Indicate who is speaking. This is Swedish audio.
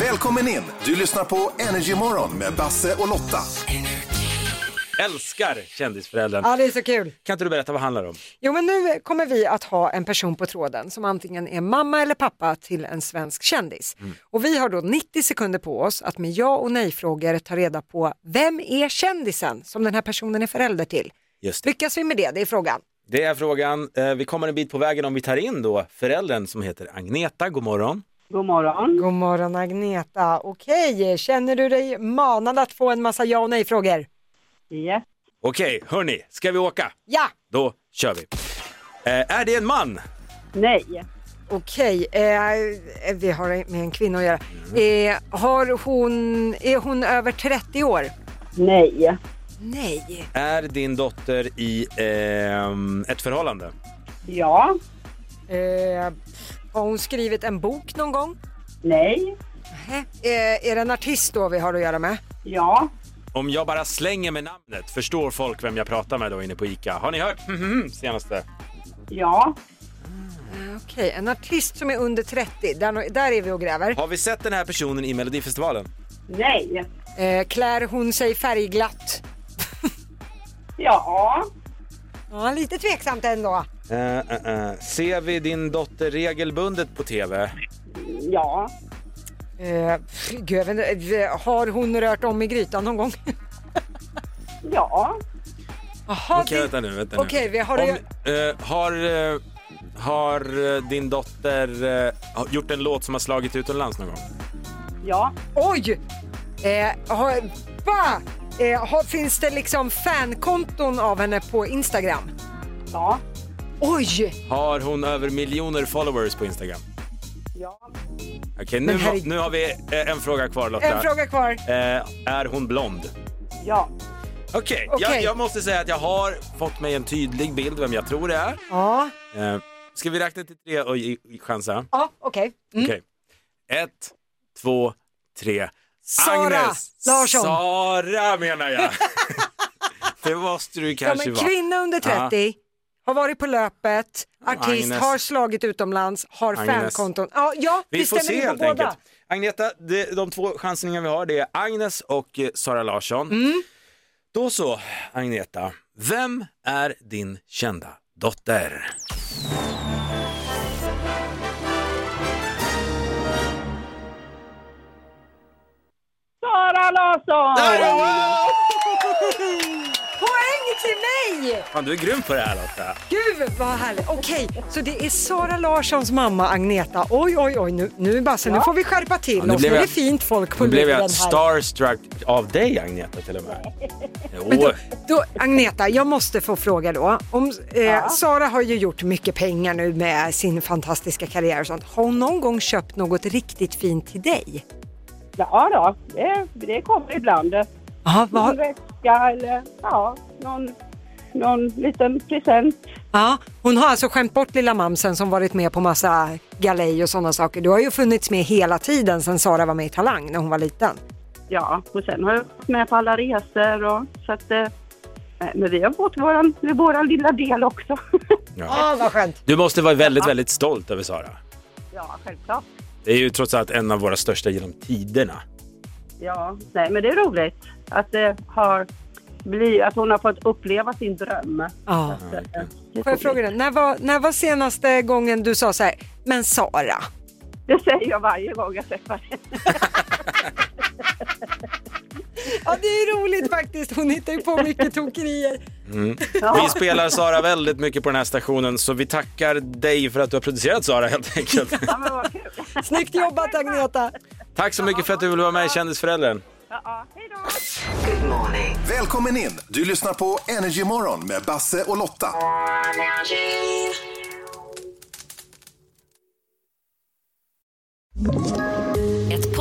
Speaker 1: Välkommen in! Du lyssnar på Energymorgon med Basse och Lotta.
Speaker 2: Älskar Kändisföräldern.
Speaker 3: Ja, det är så kul.
Speaker 2: Kan inte du berätta vad det handlar om?
Speaker 3: Jo, men nu kommer vi att ha en person på tråden som antingen är mamma eller pappa till en svensk kändis. Och vi har då 90 sekunder på oss att med ja och nej-frågor ta reda på vem är kändisen som den här personen är förälder till.
Speaker 2: Just det.
Speaker 3: Lyckas vi med det? Det är frågan.
Speaker 2: Det är frågan. Eh, Vi kommer en bit på vägen om vi tar in då föräldern som heter Agneta. God morgon.
Speaker 4: God morgon.
Speaker 3: God morgon Agneta. Okej, känner du dig manad att få en massa ja och nej-frågor?
Speaker 4: Yes.
Speaker 2: Okej, hörni, ska vi åka?
Speaker 3: Ja!
Speaker 2: Då kör vi. Eh, är det en man?
Speaker 4: Nej.
Speaker 3: Okej, eh, vi har med en kvinna att göra. Eh, har hon, är hon över 30 år?
Speaker 4: Nej.
Speaker 3: Nej.
Speaker 2: Är din dotter i ehm, ett förhållande?
Speaker 4: Ja.
Speaker 3: Eh, har hon skrivit en bok någon gång?
Speaker 4: Nej.
Speaker 3: Nähä. Eh, är det en artist då vi har att göra med?
Speaker 4: Ja.
Speaker 2: Om jag bara slänger med namnet, förstår folk vem jag pratar med då inne på ICA? Har ni hört mhm senaste?
Speaker 4: Ja.
Speaker 3: Ah, Okej, en artist som är under 30, där, där är vi och gräver.
Speaker 2: Har vi sett den här personen i Melodifestivalen?
Speaker 4: Nej.
Speaker 3: Eh, klär hon sig färgglatt?
Speaker 4: Ja.
Speaker 3: Ja, lite tveksamt ändå.
Speaker 2: Eh, eh, eh. Ser vi din dotter regelbundet på TV?
Speaker 4: Ja.
Speaker 3: Eh, pff, gud, jag vet inte, eh, har hon rört om i grytan någon gång?
Speaker 4: Ja.
Speaker 3: Jaha,
Speaker 2: Okej,
Speaker 3: det-
Speaker 2: vänta nu. Vänta
Speaker 3: Okej,
Speaker 2: nu.
Speaker 3: vi har
Speaker 2: Om, eh, har, eh, har eh, din dotter eh, har gjort en låt som har slagit utomlands någon gång?
Speaker 4: Ja.
Speaker 3: Oj! Eh, har, va? Eh, har, finns det liksom fankonton av henne på Instagram?
Speaker 4: Ja.
Speaker 3: Oj!
Speaker 2: Har hon över miljoner followers på Instagram?
Speaker 4: Ja.
Speaker 2: Okej, nu,
Speaker 3: Men herre-
Speaker 2: nu har vi eh, en fråga kvar Lotta.
Speaker 3: En fråga kvar.
Speaker 2: Eh, är hon blond?
Speaker 4: Ja.
Speaker 2: Okej, jag,
Speaker 3: Okej.
Speaker 2: jag måste säga att jag har fått mig en tydlig bild vem jag tror det är.
Speaker 3: Ja,
Speaker 2: Eh, ska vi räkna till tre och ge- chansa?
Speaker 3: ja okej. Mm.
Speaker 2: Okej. Ett, två, tre.
Speaker 3: Sara
Speaker 2: Agnes!
Speaker 3: Larsson.
Speaker 2: Sara menar jag. det måste du
Speaker 3: Ja,
Speaker 2: kanske
Speaker 3: men
Speaker 2: vara.
Speaker 3: kvinna under 30, har varit på löpet, artist,
Speaker 2: Agnes.
Speaker 3: har slagit utomlands, har
Speaker 2: Agnes.
Speaker 3: fankonton. Ja, ja
Speaker 2: Vi
Speaker 3: vi
Speaker 2: får
Speaker 3: stämmer
Speaker 2: se
Speaker 3: in på
Speaker 2: helt
Speaker 3: båda.
Speaker 2: enkelt. Agneta, de, de två chansningar vi har det är Agnes och eh, Sara Larsson.
Speaker 3: Mm.
Speaker 2: Då så, Agneta. Vem är din kända dotter?
Speaker 4: Sara Larsson!
Speaker 3: Poäng till mig!
Speaker 2: Fan, du är grym på det här Lotta.
Speaker 3: Gud vad härligt! Okej, så det är Sara Larssons mamma Agneta. Oj, oj, oj, nu, nu Basse, nu får vi skärpa till
Speaker 2: nu
Speaker 3: oss.
Speaker 2: blev
Speaker 3: Nu är det
Speaker 2: jag-
Speaker 3: fint folk på
Speaker 2: Nu blev
Speaker 3: luren här.
Speaker 2: jag starstruck av dig Agneta till och med.
Speaker 3: Men
Speaker 2: Jo,
Speaker 3: då, då, Agneta, jag måste få fråga då. Om, eh, Sara har ju gjort mycket pengar nu med sin fantastiska karriär och sånt. Har hon någon gång köpt något riktigt fint till dig?
Speaker 4: Ja då, det, det kommer ibland.
Speaker 3: Ja,
Speaker 4: Någon
Speaker 3: vad,
Speaker 4: väska eller ja, någon, någon liten present.
Speaker 3: ja, hon har alltså skämt bort lilla mamsen som varit med på massa galej och sådana saker. Du har ju funnits med hela tiden sedan Sara var med i Talang när hon var liten.
Speaker 4: Ja, och sen har jag varit med på alla resor och så att eh, men vi har fått våran, våran lilla del också.
Speaker 2: ja.
Speaker 3: Ja, vad skönt.
Speaker 2: Du måste vara väldigt, väldigt stolt över Sara.
Speaker 4: ja, självklart.
Speaker 2: Det är ju trots allt en av våra största genom tiderna.
Speaker 4: Ja, nej, men det är roligt att, det har bli, att hon har fått uppleva sin dröm.
Speaker 3: Ja.
Speaker 4: Så, eh, det är
Speaker 3: Får jag
Speaker 4: roligt.
Speaker 3: fråga dig, när var, när var senaste gången du sa så här, men Sara?
Speaker 4: Det säger jag varje gång jag träffar henne.
Speaker 3: Ja det är roligt faktiskt, hon hittar ju på mycket tokerier.
Speaker 2: Vi spelar Sara väldigt mycket på den här stationen så vi tackar dig för att du har producerat Sara helt enkelt.
Speaker 4: Ja, men vad kul.
Speaker 3: Snyggt jobbat Agneta!
Speaker 2: Tack så mycket för att du ville vara med i Kändisföräldern.
Speaker 4: Ja, ja, hej då!
Speaker 1: Välkommen in! Du lyssnar på Energymorgon med Basse och Lotta.
Speaker 5: Ett